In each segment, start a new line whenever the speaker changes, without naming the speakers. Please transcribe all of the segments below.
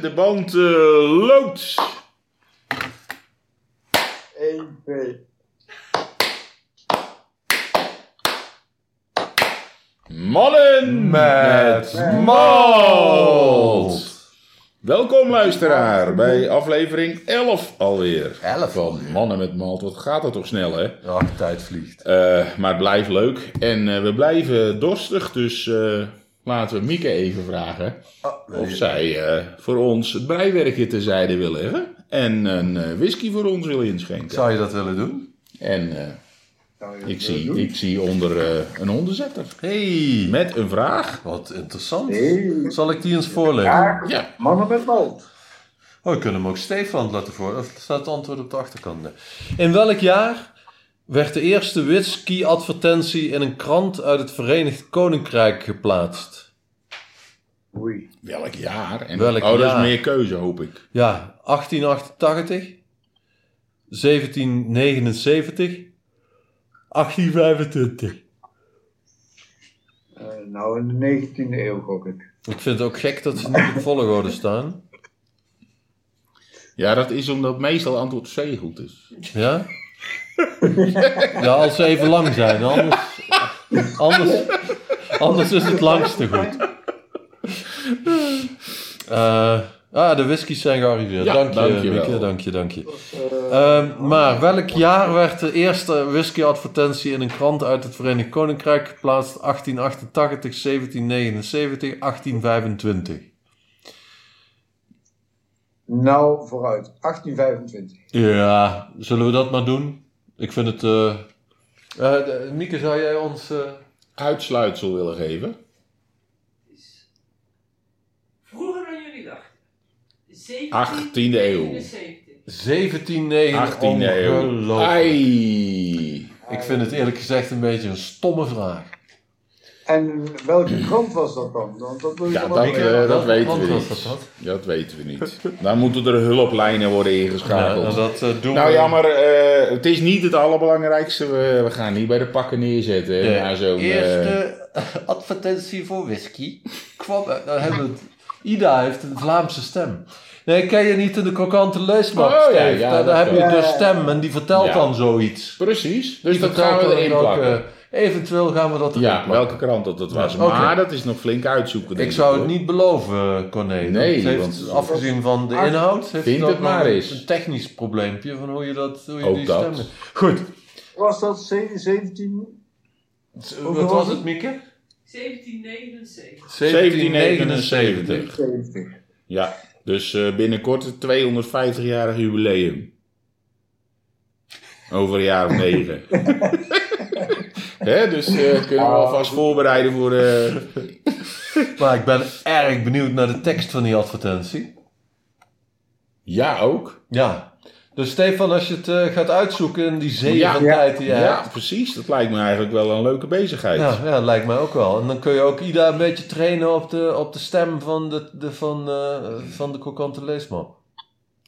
De band eh, loopt.
1, 2.
Mannen met malt. Welkom luisteraar bij aflevering 11 alweer.
11
Van Mannen met malt. Wat gaat dat toch snel hè?
Ja, de tijd vliegt.
Eh, maar het blijft leuk. En eh, we blijven dorstig. Dus eh, laten we Mieke even vragen. Of zij eh, voor ons het breiwerkje terzijde wil leggen. En een eh, whisky voor ons wil inschenken.
Zou je dat willen doen?
En eh,
Nou,
ik, zie, ik zie onder eh, een onderzetter.
Hey,
Met een vraag.
wat interessant.
Hey.
Zal ik die eens voorleggen?
Vraag,
Ja.
mannen met malt.
Oh, we kunnen hem ook Stefan laten voor. Of staat het antwoord op de achterkant? Nee. In welk jaar werd de eerste whisky-advertentie in een krant uit het Verenigd Koninkrijk geplaatst?
Oei.
Welk jaar? En,
Welk
oh, dat is
jaar?
meer keuze, hoop ik.
Ja, 1888, 1779, 1825.
Eh, nou, in de 19e eeuw gok ik.
Ik vind het ook gek dat ze niet op volgorde staan.
Ja, dat is omdat meestal antwoord C goed is.
Ja? ja, als ze even lang zijn. Anders, anders, anders is het langste goed. Eh, ah, de whiskies zijn gearriveerd.
Ja,
dank je,
dankjewel.
Mieke. Dank je, dank je.
Eh,
Ehm, maar welk jaar werd de eerste whisky-advertentie in een krant uit het Verenigd Koninkrijk geplaatst? 1888, 1779, 1825.
nou, vooruit. 1825.
Ja, zullen we dat maar doen? Ik vind het... eh, eh, de- Mieke, zou jij ons... eh,
Uitsluitsel willen geven.
is vroeger dan jullie dachten.
18e eeuw.
1771.
1790.
18e eeuw. Ai.
Ik vind het eerlijk gezegd een beetje een stomme vraag.
En welke grond was dat dan? Want dat doe je
Ja,
dan
dat,
ook
eh,
weer.
dat
welke
weten
kant
we
was
niet.
dat dan?
Dat weten we niet. Dan moeten er hulplijnen worden ingeschakeld.
nou, dat eh, doen
Nou
we.
ja, maar eh, het is niet het allerbelangrijkste. We, we gaan niet bij de pakken neerzetten. hè, na zo'n, eh,
eerste advertentie voor whisky kwam... uit- Nou, hebben we het. Ida heeft een Vlaamse stem. Nee, ken je niet in de krokante leesmacht,
Oh, ja,
Steve?
ja,
daar,
dat
daar heb je
kan.
de stem en die vertelt
Ja.
dan zoiets.
Precies. Dus
Die
dat gaan
vertelt
we
dan
erin
ook,
plakken.
eh, eventueel gaan we dat erin
ja,
plakken.
welke krant dat, dat was.
Ja, oké.
Maar dat is nog flink uitzoeken. denk
Ik zou het
hoor.
niet beloven, eh, Corné. Want
Nee,
het heeft,
want-
afgezien van de inhoud, heeft
Vind
het ook
het maar
nog een-
eens.
een technisch probleempje van hoe je, dat, hoe je
Ook
die
dat.
stemmen... Goed,
Was dat ze- 17? Hoeveel
wat
was
was
het?
het, Mieke?
1779.
1779.
70.
Ja, dus eh, binnenkort het 250-jarig jubileum. Over een jaar of negen. Hè, dus eh, kunnen
Ah.
we alvast voorbereiden voor... eh,
Maar ik ben erg benieuwd naar de tekst van die advertentie.
ja, ook.
Ja. Dus Stefan, als je het eh, gaat uitzoeken in die zee
Ja.
van
Ja.
tijd die je
Ja.
hebt...
precies. Dat lijkt me eigenlijk wel een leuke bezigheid.
Ja, ja, lijkt mij ook wel. En dan kun je ook ieder een beetje trainen op de, op de stem van de, de, van, eh, van de kokante leesman.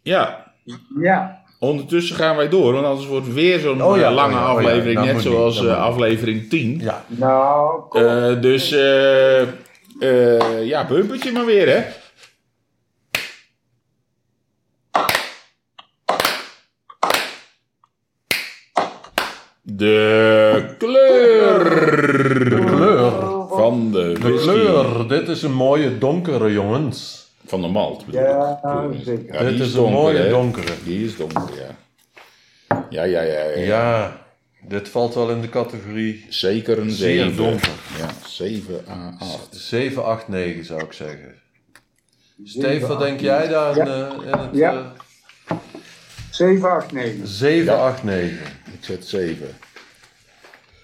ja,
Ja.
Ondertussen gaan wij door, want anders wordt weer zo'n
Oh ja,
eh, lange
oh ja, oh ja.
aflevering,
Dat
net
moet
zoals
niet, dat
eh,
moet niet.
aflevering 10.
Ja.
Nou, kom.
Eh, dus, eh eh, ja, bumpertje maar weer, hè? De kleur
Kleur.
van de
De
whisky.
kleur, dit is een mooie donkere, jongens.
Van de malt, bedoel
Ja,
ik. Kleur is-
zeker.
die
dit is, een
donker,
mooie
hè?
donkere.
Die is donker, ja. Ja, ja, ja. ja.
Ja, dit valt wel in de categorie
Zeker een
Zeer
7.
donker.
Ja, 7 a 8.
7, 8, 9 zou ik zeggen. Steve,
Zeven,
wat
acht,
denk jij daar in, eh, in het...
Ja.
eh,
7, 8, 9.
7,
Ja.
8, 9.
Ik zet 7.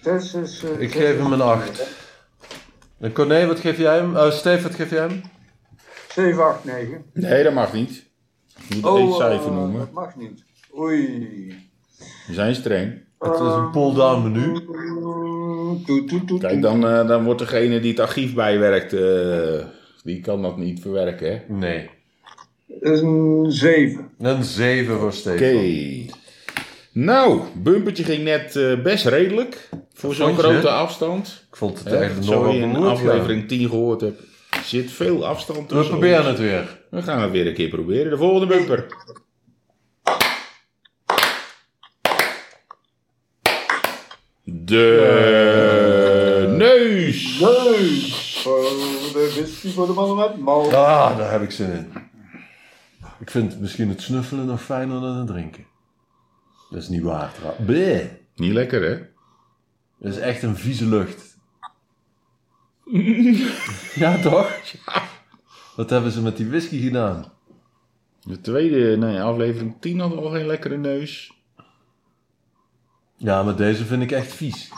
Zes is, eh,
Ik
zes
geef
is-
hem een 8. En Corné, wat geef jij hem? Eh Steve, wat geef jij hem?
7, 8, 9.
Nee, dat mag niet. Je moet
Oh,
één cijfer noemen.
Oh, eh, Dat mag niet. Oei.
We zijn streng.
Het is
Ehm.
een pull-down menu.
Toet, toet, toet,
Kijk, dan, eh, dan wordt degene die het archief bijwerkt, eh, die kan dat niet verwerken, hè?
Nee.
Een 7.
Een 7 voor Steve.
Oké. Nou, bumpertje ging net eh, best redelijk. Voor zo'n
Vond je?
grote afstand.
Ik vond het
Hè,
eigenlijk
dat
nog
zo
wel
in
beroerd, ja.
aflevering 10 gehoord heb. zit veel afstand
We
tussen
proberen
ons.
het weer.
We gaan het weer een keer proberen. De volgende bumper. De neus.
Leuk! Oh, Voor de whisky voor de mannen met Nou, mal.
Ah, daar heb ik zin in. Ik vind misschien het snuffelen nog fijner dan het drinken. Dat is niet waar trouwens. Bleh.
Niet lekker, hè?
Dat is echt een vieze lucht. ja, toch? Wat hebben ze met die whisky gedaan?
De tweede, nee, aflevering 10 had al geen lekkere neus.
Ja, maar deze vind ik echt vies.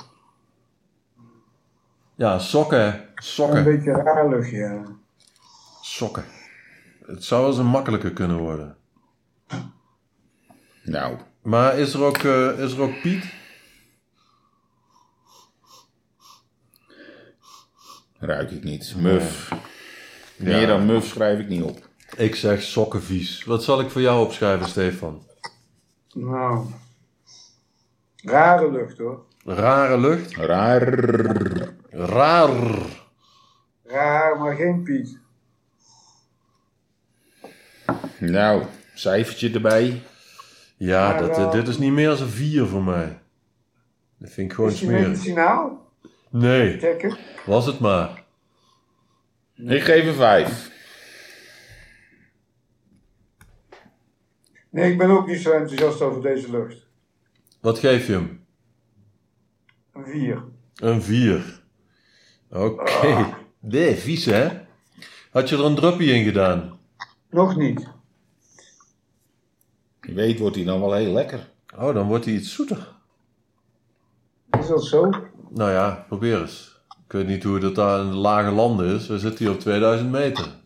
Ja, sokken.
Een
Sokken.
beetje raar luchtje. ja.
Sokken. Het zou wel eens een makkelijker kunnen worden.
Nou,
Maar is er ook, eh, is er ook Piet?
ruik ik niet. Muf. Meer dan muf schrijf ik niet op.
Ik zeg sokken vies. Wat zal ik voor jou opschrijven, Stefan?
Nou. Rare lucht hoor.
Rare lucht.
Raar.
Raar.
Raar, maar geen Piet.
Nou, cijfertje erbij.
Ja,
Maar,
dat, eh,
eh,
dit is niet meer als een vier voor mij. Dat vind ik gewoon
Is die met het
smerig.
signaal?
Nee,
Checken.
was het maar.
Ik geef een 5.
Nee, ik ben ook niet zo enthousiast over deze lucht.
Wat geef je hem?
Een vier.
Een vier. Oké.
Ah.
Nee, vies hè? Had je er een druppie in gedaan?
Nog niet.
Je weet, wordt hij dan wel heel lekker.
Oh, dan wordt hij iets zoeter.
Is dat zo?
Nou ja, probeer eens. Ik weet niet hoe dat daar in de lage landen is. We zitten hier op 2000 meter.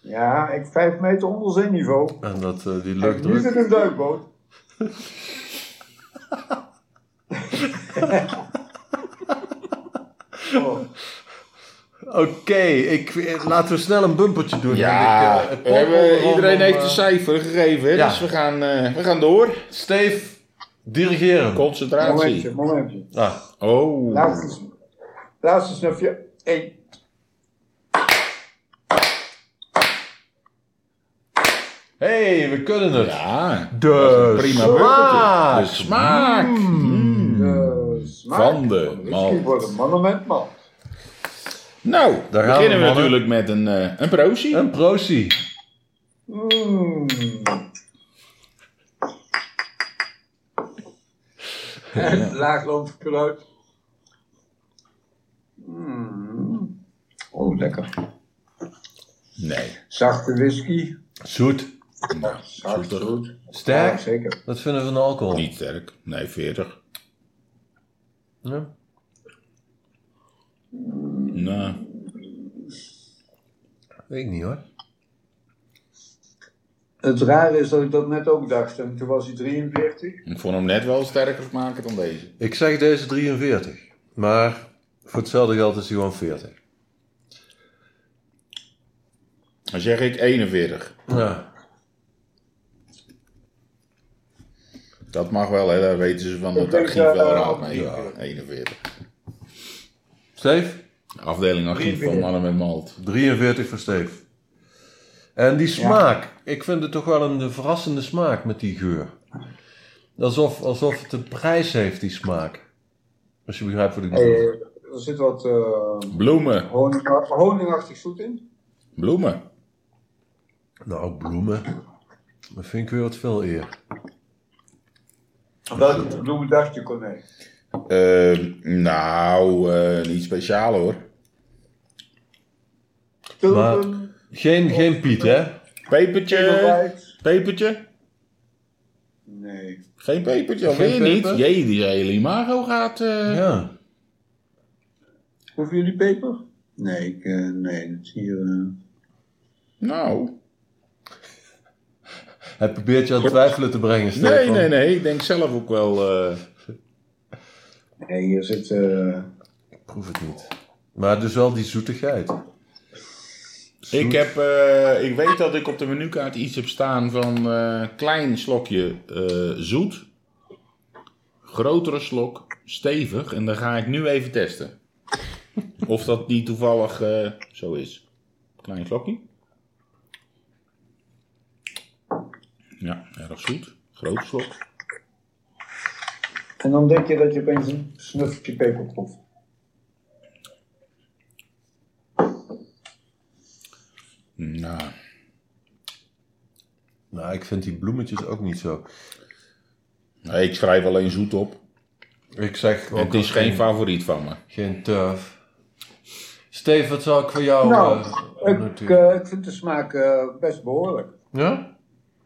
Ja, ik vijf meter onder zeeniveau.
En dat, eh, die
En Nu
luchtdruk...
zit een duikboot. oh,
Oké, ik- eh, laten we snel een bumpertje doen.
Ja,
Want ik, eh, het
we hebben,
popcorn
iedereen
om,
heeft
eh,
een cijfer gegeven,
ja.
dus we gaan, eh, we gaan door.
Steve, dirigeer hem.
Concentratie.
momentje, momentje.
Ah,
Oh,
Laatste, laatste snufje. Eén.
hey, we kunnen het.
ja.
Dus.
De
Prima
Eh, smaak.
bumpertje. De smaak. Mm.
De Eh, smaak
Van de malt.
whisky voor de mannen met malt.
Nou,
Daar gaan
beginnen
we,
we,
mannen.
natuurlijk met een, eh een proosie.
Een proosie.
Mm. En laagland geluid. Mm. Oh, lekker.
Nee.
Zachte whisky.
Zoet.
Nou,
Zacht,
zoeter.
goed. Ja,
Sterk.
zeker.
Wat vinden we van de alcohol?
Niet sterk. Nee, 40.
Ja.
Nou,
Weet ik niet hoor.
Het rare is dat ik dat net ook dacht. En toen was hij 43.
ik vond hem net wel sterker maken dan deze.
Ik zeg deze 43. Maar voor hetzelfde geld is hij gewoon 40.
Dan zeg ik 41.
Ja.
Dat mag wel, hè? daar weten ze van het
denk,
archief wel
eh,
raad mee. Ja,
ja.
41.
Steve?
Afdeling archief van
43.
Mannen met Malt.
43 voor Steve. En die smaak. Ik vind het toch wel een verrassende smaak met die geur. Alsof, alsof het een prijs heeft, die smaak. Als je begrijpt wat ik bedoel.
Eh, er zit wat eh,
Bloemen.
honing, honingachtig zoet in.
Bloemen.
Nou, bloemen. Dat vind ik weer wat veel eer.
Welke bloemen dacht je, Corné?
Eh, nou, eh, niet speciaal hoor.
Tulpen,
Geen, geen Piet, hè?
Pepertje.
Edelweiss.
Pepertje.
Nee.
Geen pepertje,
Geen
alweer
peper?
niet. Jee, die hele imago gaat... eh,
Ja.
Hoeven jullie peper? Nee, ik, eh, nee, dat hier. eh,
Nou,
Hij probeert je aan het twijfelen te brengen, Stefan.
nee, nee, nee. Ik denk zelf ook wel... eh,
Nee, hier zit. eh,
Ik proef het niet. Maar dus wel die zoetigheid. Zoet.
Ik, heb, eh, ik weet dat ik op de menukaart iets heb staan van eh, klein slokje eh, zoet, grotere slok stevig. En dan ga ik nu even testen. Of dat niet toevallig eh, zo is. Klein slokje. Ja, erg zoet. Groot slok.
En dan denk je dat je opeens een snufje peper proeft.
Nou,
Nou, ik vind die bloemetjes ook niet zo.
nee, nou, ik schrijf alleen zoet op.
Ik zeg ook
Het is geen
geen,
favoriet van me.
geen turf. Steve, wat zou ik voor jou
Nou,
eh,
Ik,
noteren?
eh, ik vind de smaak eh, best behoorlijk.
Ja?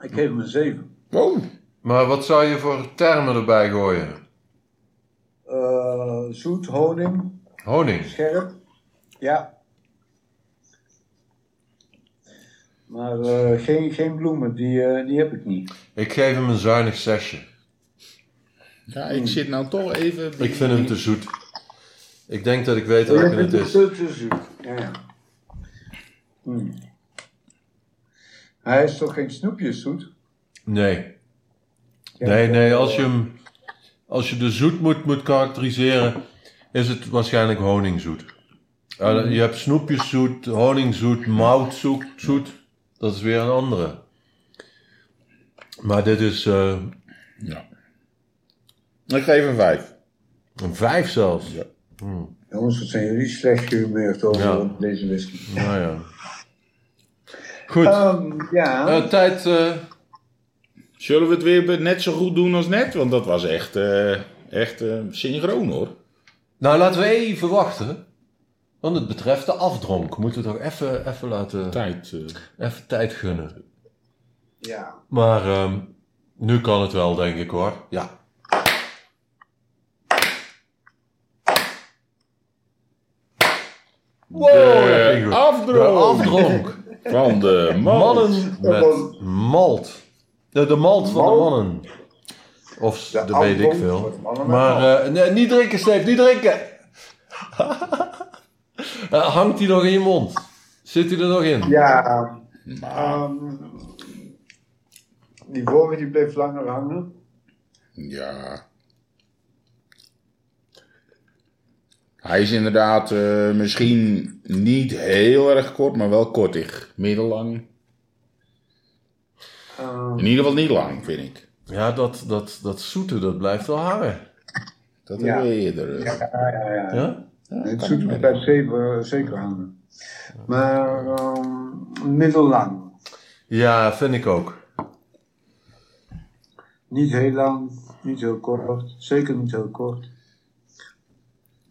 Ik geef hem een 7.
Oh,
Maar wat zou je voor termen erbij gooien?
Eh, zoet, honing,
Honing.
scherp. Ja. Maar eh, geen, geen bloemen, die, eh, die heb ik niet.
Ik geef hem een zuinig zesje.
ja, ik zit nou toch even...
Ik vind hem te zoet. Ik denk dat ik weet
Je
welke
vindt
het
het
is.
te, te zoet. Ja, ja. Hmm. Hij is toch geen snoepjes zoet?
Nee.
Ja,
Nee,
ja.
nee. Als je, hem, als je de zoet moet, moet karakteriseren, is het waarschijnlijk honingzoet.
Mhm.
Eh, je hebt snoepjeszoet, honingzoet, moutzoet. Zoet. Dat is weer een andere. Maar dit is eh,
Ja. Ik geef een vijf.
een vijf zelfs.
Ja.
Hmm,
Jongens, wat zijn jullie slecht gehumeurd over
Ja.
deze whisky.
nou ja. Goed.
Ehm, ja.
Eh, tijd. eh,
Zullen we het weer be- net zo goed doen als net? Want dat was echt, eh, echt eh, synchroon hoor.
nou, laten we even wachten. Want het betreft de afdronk. Moeten we toch even, even laten.
Tijd. eh,
Even tijd gunnen.
ja.
Maar ehm, nu kan het wel, denk ik hoor. Ja. Wow, dat ging
de
goed. De
afdronk
afdronk.
van de mannen.
Mannen met malt. De, de malt van de
Malt?
mannen. Of
De
dat weet ik
afdronk
veel.
wordt mannen met
Maar eh, nee, niet drinken, Steve, niet drinken. Eh, hangt hij nog in je mond? Zit hij er nog in?
Ja,
Nou,
ehm, die vorige die bleef langer hangen.
ja. Hij is inderdaad eh, misschien niet heel erg kort, maar wel kortig. Middellang.
Ehm,
In ieder geval niet lang, vind ik.
Ja, dat, dat, dat zoete, dat blijft wel hangen.
Dat
Ja.
hebben we eerder. eh.
ja, ja, ja.
Ja?
Het zoete blijft zeker, eh, zeker hangen. Maar ehm, middellang.
Ja, vind ik ook.
Niet heel lang, niet heel kort. Zeker niet heel kort.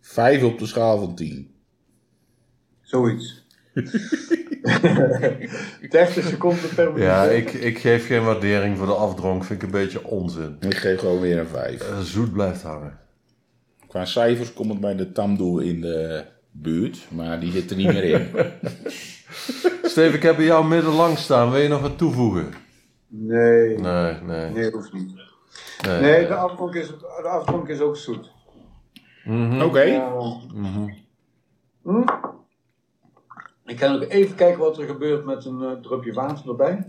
Vijf op de schaal van tien.
Zoiets. 30 seconden per minuut.
Ja, ik, ik geef geen waardering voor de afdronk. Vind ik een beetje onzin.
Ik geef gewoon weer een vijf.
Eh, zoet blijft hangen.
Qua cijfers komt het bij de Tamdoe in de buurt, maar die zit er niet meer in.
Steve, ik heb bij jou middenlang staan. Wil je nog wat toevoegen?
Nee, nee,
Nee, nee.
hoeft niet.
Nee,
Nee, de afdronk is, de afdronk is ook zoet.
Mhm.
Oké.
Ja. Hm? Ik ga nog even kijken wat er gebeurt met een eh, drupje water erbij.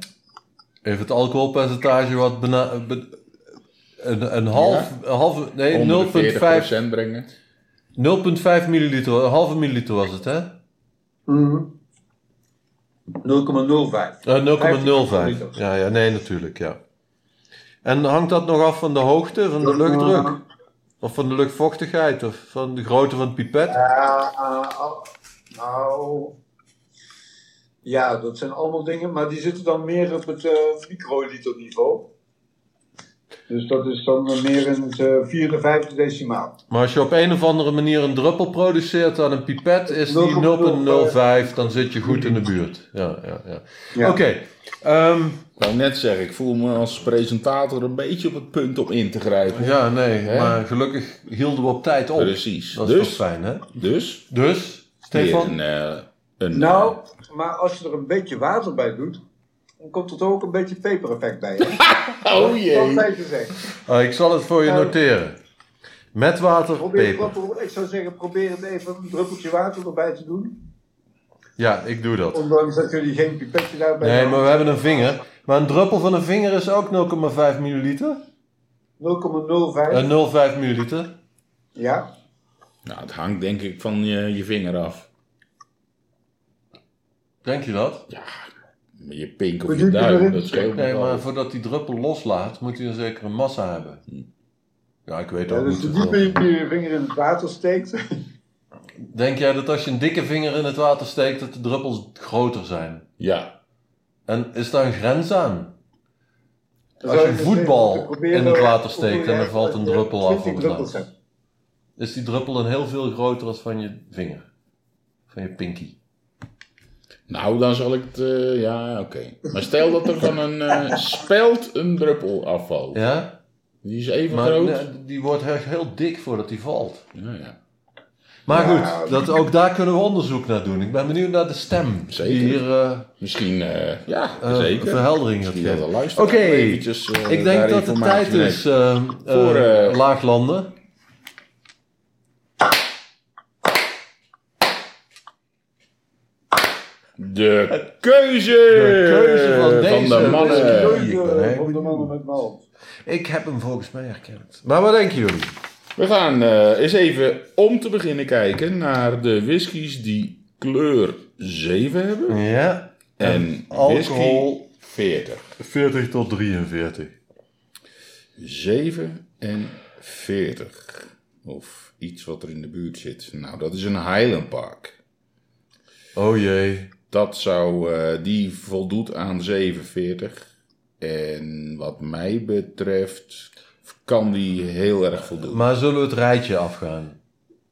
Even het alcoholpercentage wat bena- be- een, een half, een half nee,
Onder de
0,5
40% brengen.
0,5 milliliter, een halve milliliter was het, hè?
Mhm. 0,05.
Eh, 0,05.
50
Ja, ja, nee, natuurlijk, ja. En hangt dat nog af van de hoogte, van de luchtdruk? Of van de luchtvochtigheid? Of van de grootte van het pipet?
Ja, eh, al- nou. Ja, dat zijn allemaal dingen, maar die zitten dan meer op het eh microliter niveau. Dus dat is dan meer in het eh, vierde, vijfde decimaal.
Maar als je op een of andere manier een druppel produceert aan een pipet, is die 0,05, dan zit je goed in de buurt. Ja, ja, ja.
Ja.
Oké. ehm,
Ik wou net zeggen, ik voel me als presentator een beetje op het punt om in te grijpen.
ja, nee,
Hè?
maar gelukkig hielden we op tijd op.
Precies.
Dat is
dus,
toch fijn, hè?
dus,
Dus,
weer
Stefan?
een, eh, een...
Nou, maar als je er een beetje water bij doet, dan komt er toch ook een beetje pepereffect bij. hè?
eh, oh jee.
Altijd gezegd.
Ah, ik zal het voor je
Nou.
noteren. Met water op
Probeer,
peper.
wat- ik zou zeggen, probeer het even een druppeltje water erbij te doen.
Ja, ik doe dat.
Ondanks dat jullie geen pipetje daarbij
Nee, maar
hebben.
we hebben een vinger. Maar een druppel van een vinger is ook 0,5 milliliter.
0,05.
Eh, 0,5 milliliter.
Ja.
Nou, het hangt denk ik van je, je vinger af.
Denk je dat?
Met je pink of
Wat
je
doet hij
duim,
erin?
dat scheelt
Nee,
niet
maar voordat die druppel loslaat, moet hij een zekere massa hebben. Ja, ik weet
Ja,
ook
dus
niet.
je
hoeveel.
dieper je je vinger in het water steekt.
Denk jij dat als je een dikke vinger in het water steekt, dat de druppels groter zijn?
Ja,
En is daar een grens aan?
Dus dan
Als
zou
je
het
voetbal
te proberen
in het water
om-
steekt en er valt een
ja,
druppel af
20
op het
druppels
laatst.
hebt.
Is die druppel dan heel veel groter als van je vinger? Van je pinky?
nou dan zal ik het, eh, ja oké. Maar stel dat er van een eh, speld een druppel afvalt.
Ja?
Die is even
Maar eh,
groot.
nee, die wordt echt heel dik voordat die valt.
Ja, ja.
Maar
Ja.
goed, dat, ook daar kunnen we onderzoek naar doen. Ik ben benieuwd naar de stem.
Zeker.
Die hier eh,
Misschien, eh, ja,
eh,
zeker.
verheldering gaat
Misschien dat
geven.
de luisteraar
Oké,
eventjes, eh, daar
Ik denk dat het
informatie
tijd
mee-
is eh, eh,
Voor, eh,
Laaglanden.
De keuze,
De keuze van deze
de
Dat is
mannen.
Eh,
een
ik ben
keuze
heel
van de mannen
benieuwd.
met mouw.
Ik heb hem volgens mij herkend. Maar wat denken jullie?
We gaan eh, eens even om te beginnen kijken naar de whiskies die kleur 7 hebben.
Ja.
En
alcohol-
whisky 40.
40 tot 43.
7 en 40. Of iets wat er in de buurt zit. Nou, dat is een Highland Park.
Oh jee.
Dat zou, eh, die voldoet aan 47. En wat mij betreft kan die heel erg voldoen.
Maar zullen we het rijtje afgaan?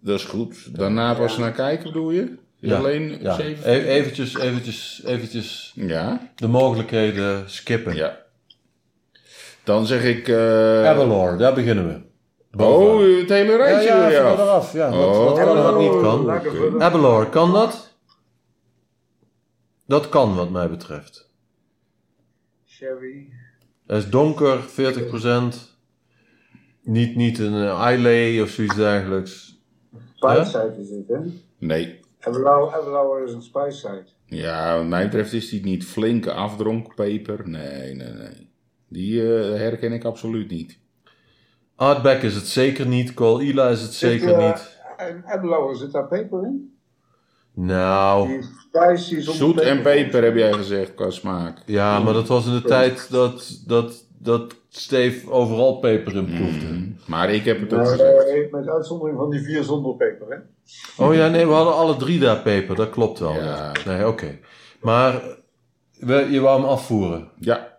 Dat is goed. Daarna pas naar kijken bedoel je? Is
Ja,
Alleen
Ja. E
7?
eventjes, eventjes, eventjes
Ja,
de mogelijkheden skippen.
ja. Dan zeg ik... eh
Avalor, daar beginnen we.
oh,
Bovenaan.
het hele
ja,
rijtje
ja,
wil je
even
af.
eraf. Ja, wat,
Oh.
wat kan en wat niet kan.
Lekker vullen.
Avalor, kan dat? Dat kan wat mij betreft.
Sherry.
Het is donker, 40%. Niet, niet een eh, Islay of zoiets dergelijks.
Spice side is het, hè?
Nee.
Everlau- Everlauer is een spice side.
Ja, wat mij betreft is die niet flinke afdronkpeper. Nee, nee, nee. Die eh, herken ik absoluut niet.
Hardback is het zeker niet. Coahuila is het zeker
Zit, eh,
niet.
En Everlauer, zit daar peper in?
Nou,
Die spice die is om de
Zoet en peper heb jij gezegd qua smaak.
ja, maar dat was in de tijd dat, dat, dat Steve overal peper in proefde.
Mm. Maar ik heb het ook
Maar,
gezegd.
eh, met uitzondering van die vier zonder peper, hè?
Oh ja, nee, we hadden alle drie daar peper. Dat klopt wel.
Ja.
Nee, oké. Maar we, je wou hem afvoeren.
Ja.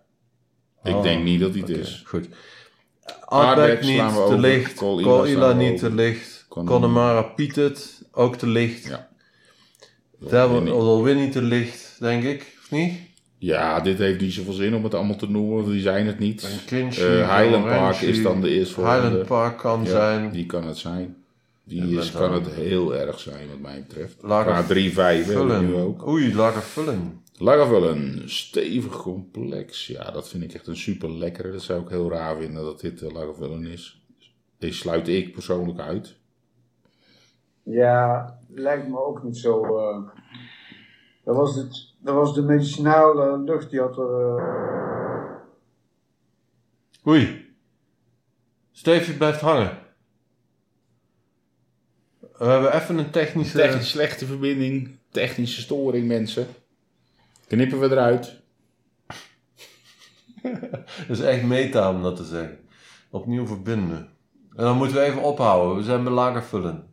Ik
Oh,
denk niet dat die het
Oké,
is.
Goed.
Aardbek
Outback
slaan
niet
we
te
over.
licht.
Coahuila
Coahuila
slaan we
niet te
over.
licht.
Connemara.
Connemara Pietet ook te licht.
Ja.
Daar
Winnie.
wordt weer niet te licht, denk ik. Of niet?
Ja, dit heeft niet zoveel zin om het allemaal te noemen, want die zijn het niet.
Een Kinchy,
Eh, Highland
Orange.
Park is dan de eerstvolgende.
Highland Park kan
Ja,
zijn.
Die kan het zijn.
Dat
Die is,
bent
kan
wel-
het heel erg zijn, wat mij betreft.
Lager
Qua 3 5 hebben we nu
Vullen.
ook.
Oei, lager vullen.
Lagervullen, stevig complex. Ja, dat vind ik echt een super lekkere. Dat zou ik heel raar vinden dat dit uh, Lagervullen is. Die sluit ik persoonlijk uit.
Ja, lijkt me ook niet zo. eh. dat, was het, dat was de medicinale lucht die had er. eh,
Oei. Steve, je blijft hangen. We hebben even een technische...
Technisch slechte verbinding, technische storing, mensen. Knippen we eruit.
Dat is echt meta om dat te zeggen. Opnieuw verbinden. En dan moeten we even ophouden. We zijn bij lager vullen.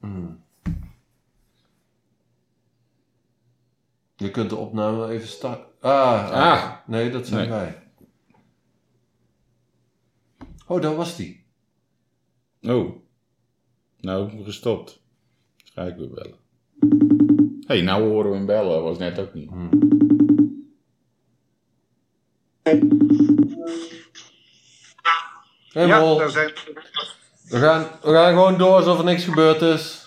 Hmm. Je kunt de opname wel even starten. Ah,
Ah.
nee, dat zijn
Nee.
wij. Oh, daar was die.
Oh. Nou, gestopt. Ga ik weer bellen. Hé, hey, nou horen we hem bellen. Was net ook niet.
Helemaal.
daar zijn.
we, gaan, we gaan gewoon door alsof er niks gebeurd is.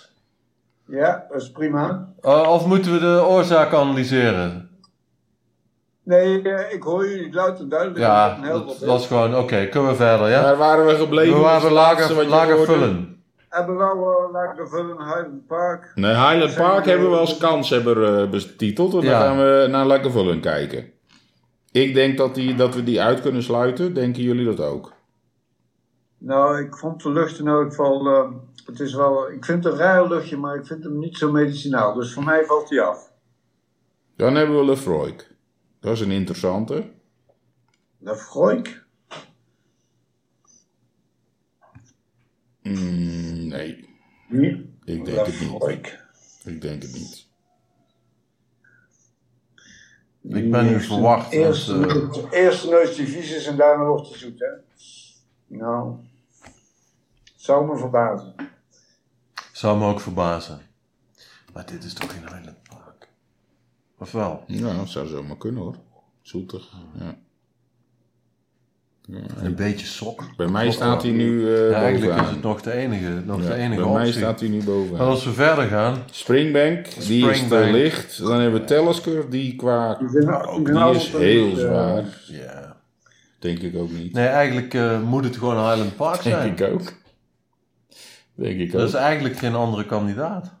Ja, dat is prima.
Eh, of moeten we de oorzaak analyseren?
Nee, eh, ik hoor jullie luid en duidelijk. Ik
Ja,
ben heel
dat
veel
was gewoon... Oké, kunnen we verder, ja?
Waar waren we gebleven? Dat is
we waren
het laatste wat
lager,
je
lager
hoorde.
vullen.
Hebben we wel eh, laten vullen Highland Park?
Nee, Highland
Zijn
Park
we-
hebben we als kanshebber eh betiteld. En
Ja.
dan gaan we naar Lekkervullen kijken. Ik denk dat, die, dat we die uit kunnen sluiten. Denken jullie dat ook?
Nou, ik vond de lucht in elk geval. eh, het is wel, ik vind het een raar luchtje, maar ik vind hem niet zo medicinaal. Dus voor mij valt hij af.
Dan hebben we Lefroy. Dat is een interessante.
Lefroy?
Mm, nee,
Nee.
ik denk het niet.
Lefroy.
Ik denk het niet.
Ik ben nu verwacht.
Eerst,
want, eh,
het eerste neus die vies is en daarna wordt hij zoet, hè? Nou, zou me verbazen.
Zou me ook verbazen. Maar dit is toch geen Highland Park? Of wel?
Ja, Nou, dat zou zomaar kunnen hoor. Zoetig. Ja.
Een beetje sok.
Bij mij staat hij nu eh
Ja, eigenlijk is
bovenaan.
het nog de enige, nog
Ja,
de enige
bij mij
optie.
staat hij nu
Maar
bovenaan.
als we verder gaan,
Springbank, die is te
Springbank.
licht. Dan hebben we Telescope, die qua...
Ik ben- ik
Die
ben
is
altijd,
heel
eh,
zwaar.
ja.
Denk ik ook niet.
Nee, eigenlijk eh, moet het gewoon Highland Park zijn.
Denk ik ook. Denk ik
Dat
ook.
is eigenlijk geen andere kandidaat.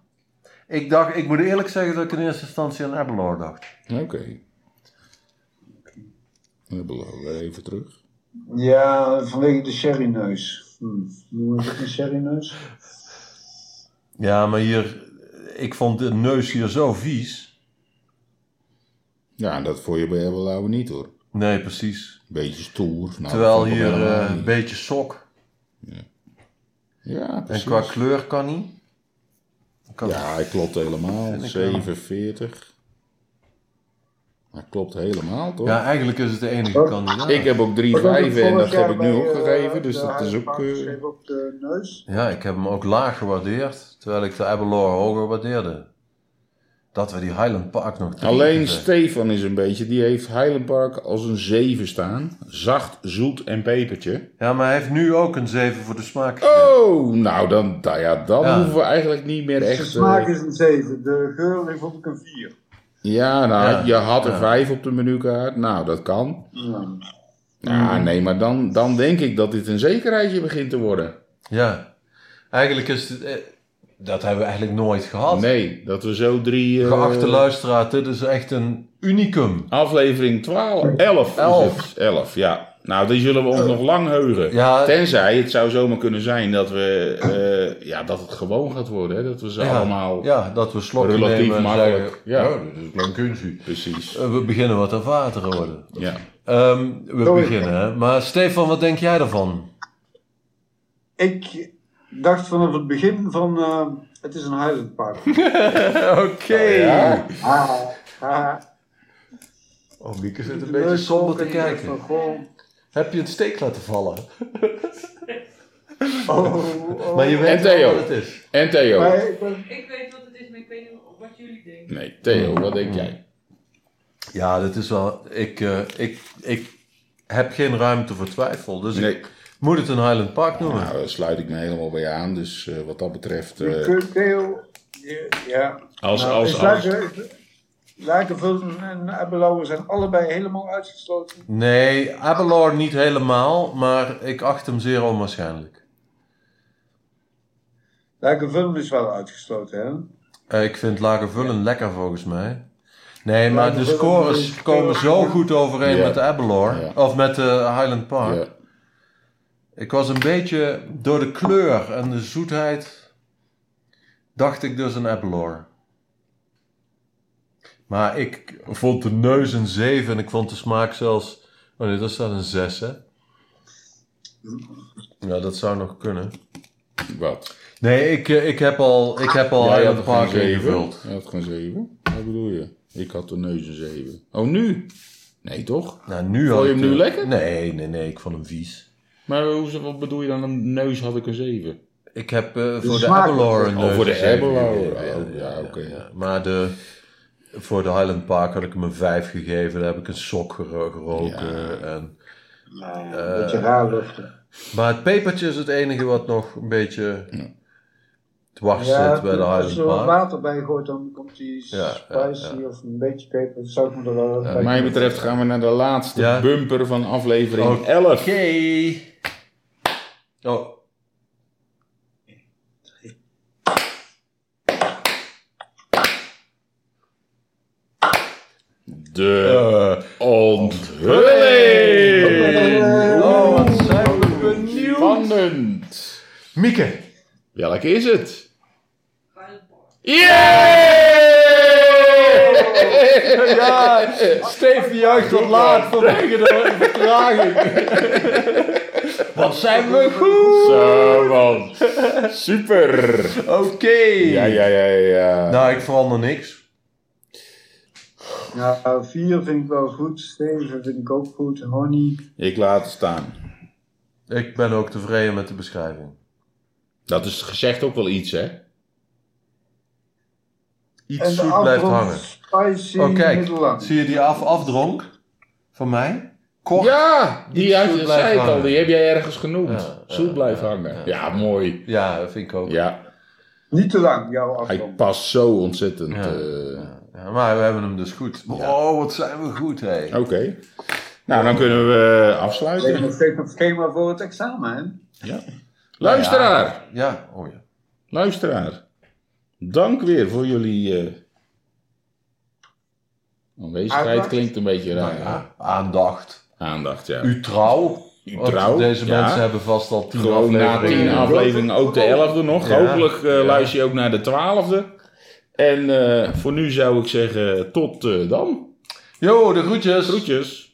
Ik dacht, ik moet eerlijk zeggen dat ik in eerste instantie aan Abelor dacht.
Oké. Dan beloven we even terug.
Ja, vanwege de sherryneus. Hm. Noemen ze het een sherryneus?
Ja, maar hier, ik vond de neus hier zo vies.
Ja, dat vond je bij Ebelau niet hoor.
Nee, precies.
Beetje stoer. Nou,
Terwijl
dat vond ik
hier
helemaal
eh, een
niet.
beetje sok.
Ja,
En
precies.
qua kleur kan niet. Kan
Ja, hij klopt helemaal.
Oh. Vind ik wel.
47. Hij klopt helemaal, toch?
ja, eigenlijk is het de enige
Oh.
kandidaat.
Ik heb ook 3,5
Was het
en dat
vorig
heb
jaar
ik nu
bij, eh,
opgegeven. Dus
de
dat is ook...
Huisbank
eh,
schreef op de neus.
Ja, ik heb hem ook laag gewaardeerd. Terwijl ik de Abelor hoger waardeerde. Dat we die Highland Park nog drie
Alleen
keer-
Stefan is een beetje... Die heeft Highland Park als een 7 staan. Zacht, zoet en pepertje.
Ja, maar hij heeft nu ook een 7 voor de smaak. gegeven.
Oh, nou dan, nou ja, dan
Ja.
hoeven we eigenlijk niet meer
De
echt... eh,
Dus smaak is een 7, de geur heeft ook een 4.
ja, nou,
Ja,
je had er
ja.
5 op de menukaart. Nou, dat kan.
Ja.
Ja, nee, maar dan, dan denk ik dat dit een zekerheidje begint te worden.
Ja. Eigenlijk is het... eh, Dat hebben we eigenlijk nooit gehad.
Nee, dat we zo drie... eh,
Geachte luisteraar, dit is echt een unicum.
Aflevering 12, 11.
Elf.
11. 11, ja. Nou, die zullen we ons nog lang heugen.
Ja.
Tenzij het zou zomaar kunnen zijn dat, we, eh, ja, dat het gewoon gaat worden. Hè? Dat we ze
Ja,
allemaal.
Ja, dat we slokje
relatief
nemen en
makkelijk.
zeggen... "Oh,
Ja.
dit is lang kunstje. Eh,
Precies.
We beginnen wat ervaren te worden.
Ja.
Ehm, we
Sorry.
beginnen, hè. Maar Stefan, wat denk jij ervan?
Ik dacht vanaf het begin van, eh, het is een Highland Park.
Oké.
Ja.
ah, ah.
Oh, Mieke zit een
De
beetje
neus
somber te
klonk en ik dacht
kijken.
van, goh,
Heb je het steek laten vallen?
Oh, oh.
Maar je weet
En Theo.
wel wat het is.
En Theo.
Maar ik ben-
Ik weet wat het is, maar ik weet niet wat jullie denken.
Nee, Theo, wat denk jij?
Ja, dat is wel... Ik, eh, ik, ik heb geen ruimte voor twijfel. Dus
Nee.
ik moet het een Highland Park noemen.
Nou, daar sluit ik me helemaal bij aan. Dus eh, wat dat betreft. eh,
je kunt heel... je- Ja.
als,
Nou,
als,
dus
als,
Laken- Lakenvulden en Abelauer zijn allebei helemaal uitgesloten.
Nee, Abelor niet helemaal, maar ik acht hem zeer onwaarschijnlijk.
Lakenvulden is wel uitgesloten, hè?
Eh, ik vind Lagervullen lekker volgens mij. Nee, maar de
Lagervullen
scores
is-
komen zo goed overeen
Ja.
met de Abelor.
Ja.
Of met de Highland Park.
ja.
Ik was een beetje door de kleur en de zoetheid. dacht ik dus een Abelor. Maar ik vond de neus een 7 en ik vond de smaak zelfs. Oh nee, dat staat een 6, hè? Ja, dat zou nog kunnen.
Wat?
Nee, ik, eh, ik heb al, ik heb al
Ah, Jij
Highland Park
geen zeven.
ingevuld.
Hij had geen 7. Wat bedoel je? Ik had de neus een 7. Oh, nu? Nee, toch?
Nou, nu
Vond
had
je
ik
hem nu
de-
lekker?
Nee, nee, nee, ik vond hem vies.
Maar hoe, wat bedoel je dan? Een neus had ik een 7.
Ik heb eh, voor de
smaak-
Abelor een
Oh, voor de
neus gegeven.
Abelor. Oh, ja, oké.
Maar de, voor de Highland Park had ik hem een 5 gegeven. Daar heb ik een sok gero- geroken. En, Nou, eh,
Een beetje raar luchten.
maar het pepertje is het enige wat nog een beetje dwars zit bij de
als
Highland
er wat
Park.
water bij gooit, dan komt die
Ja, ja,
spicy of een beetje peper. Dat zou ik me er wel
Wat
bij
mij
kunnen.
betreft gaan we naar de laatste
Ja.
bumper van aflevering
Oké.
11.
Oh,
De
eh,
onthulling!
Eh,
oh, wat zijn we benieuwd.
Spannend!
Mieke,
Welk is het?
Violet Park.
Yeah!
Ja, Steven juicht wat laat vanwege de vertraging. Wat zijn we goed!
Zo man. Super.
Oké!
Ja, ja, ja, ja.
Nou, ik verander niks.
Ja, vier vind ik wel goed. Zeven vind ik ook goed. Honey.
Ik laat het staan.
Ik ben ook tevreden met de beschrijving.
Dat is gezegd ook wel iets, hè?
Iets zoet blijft
afrond
hangen.
Spicy
Oh, kijk.
middellang.
Zie je die af afdronk? Van mij? Kort.
Ja, die
Iets
uit
zoet
de
blijft
zei het al,
hangen.
die heb jij ergens genoemd.
Ja,
Zoet
ja,
blijft
ja,
hangen.
ja.
Ja, mooi.
Ja, dat vind ik ook.
Ja,
Niet te lang, jouw
hij
afstand.
past zo ontzettend.
Ja,
eh,
ja. Ja, maar we hebben hem dus goed. Oh, wat zijn we goed, hé.
eh, Oké. Nou, dan kunnen we
Ik heb
afsluiten.
nog steeds een schema voor het examen, hè?
Luisteraar,
Ja, oh ja.
luisteraar. Dank weer voor jullie eh, aanwezigheid.
Aandacht.
Klinkt een beetje raar.
Nou ja, aandacht.
Aandacht, ja.
U trouw.
U
Want
trouw,
Deze
ja.
mensen hebben vast al tien
Gewoon na
afleveringen. Oh.
tien afleveringen ook de elfde nog.
Ja.
Hopelijk eh,
Ja.
luister je ook naar de twaalfde. En eh, voor nu zou ik zeggen tot eh, dan.
Yo, de groetjes.
Groetjes.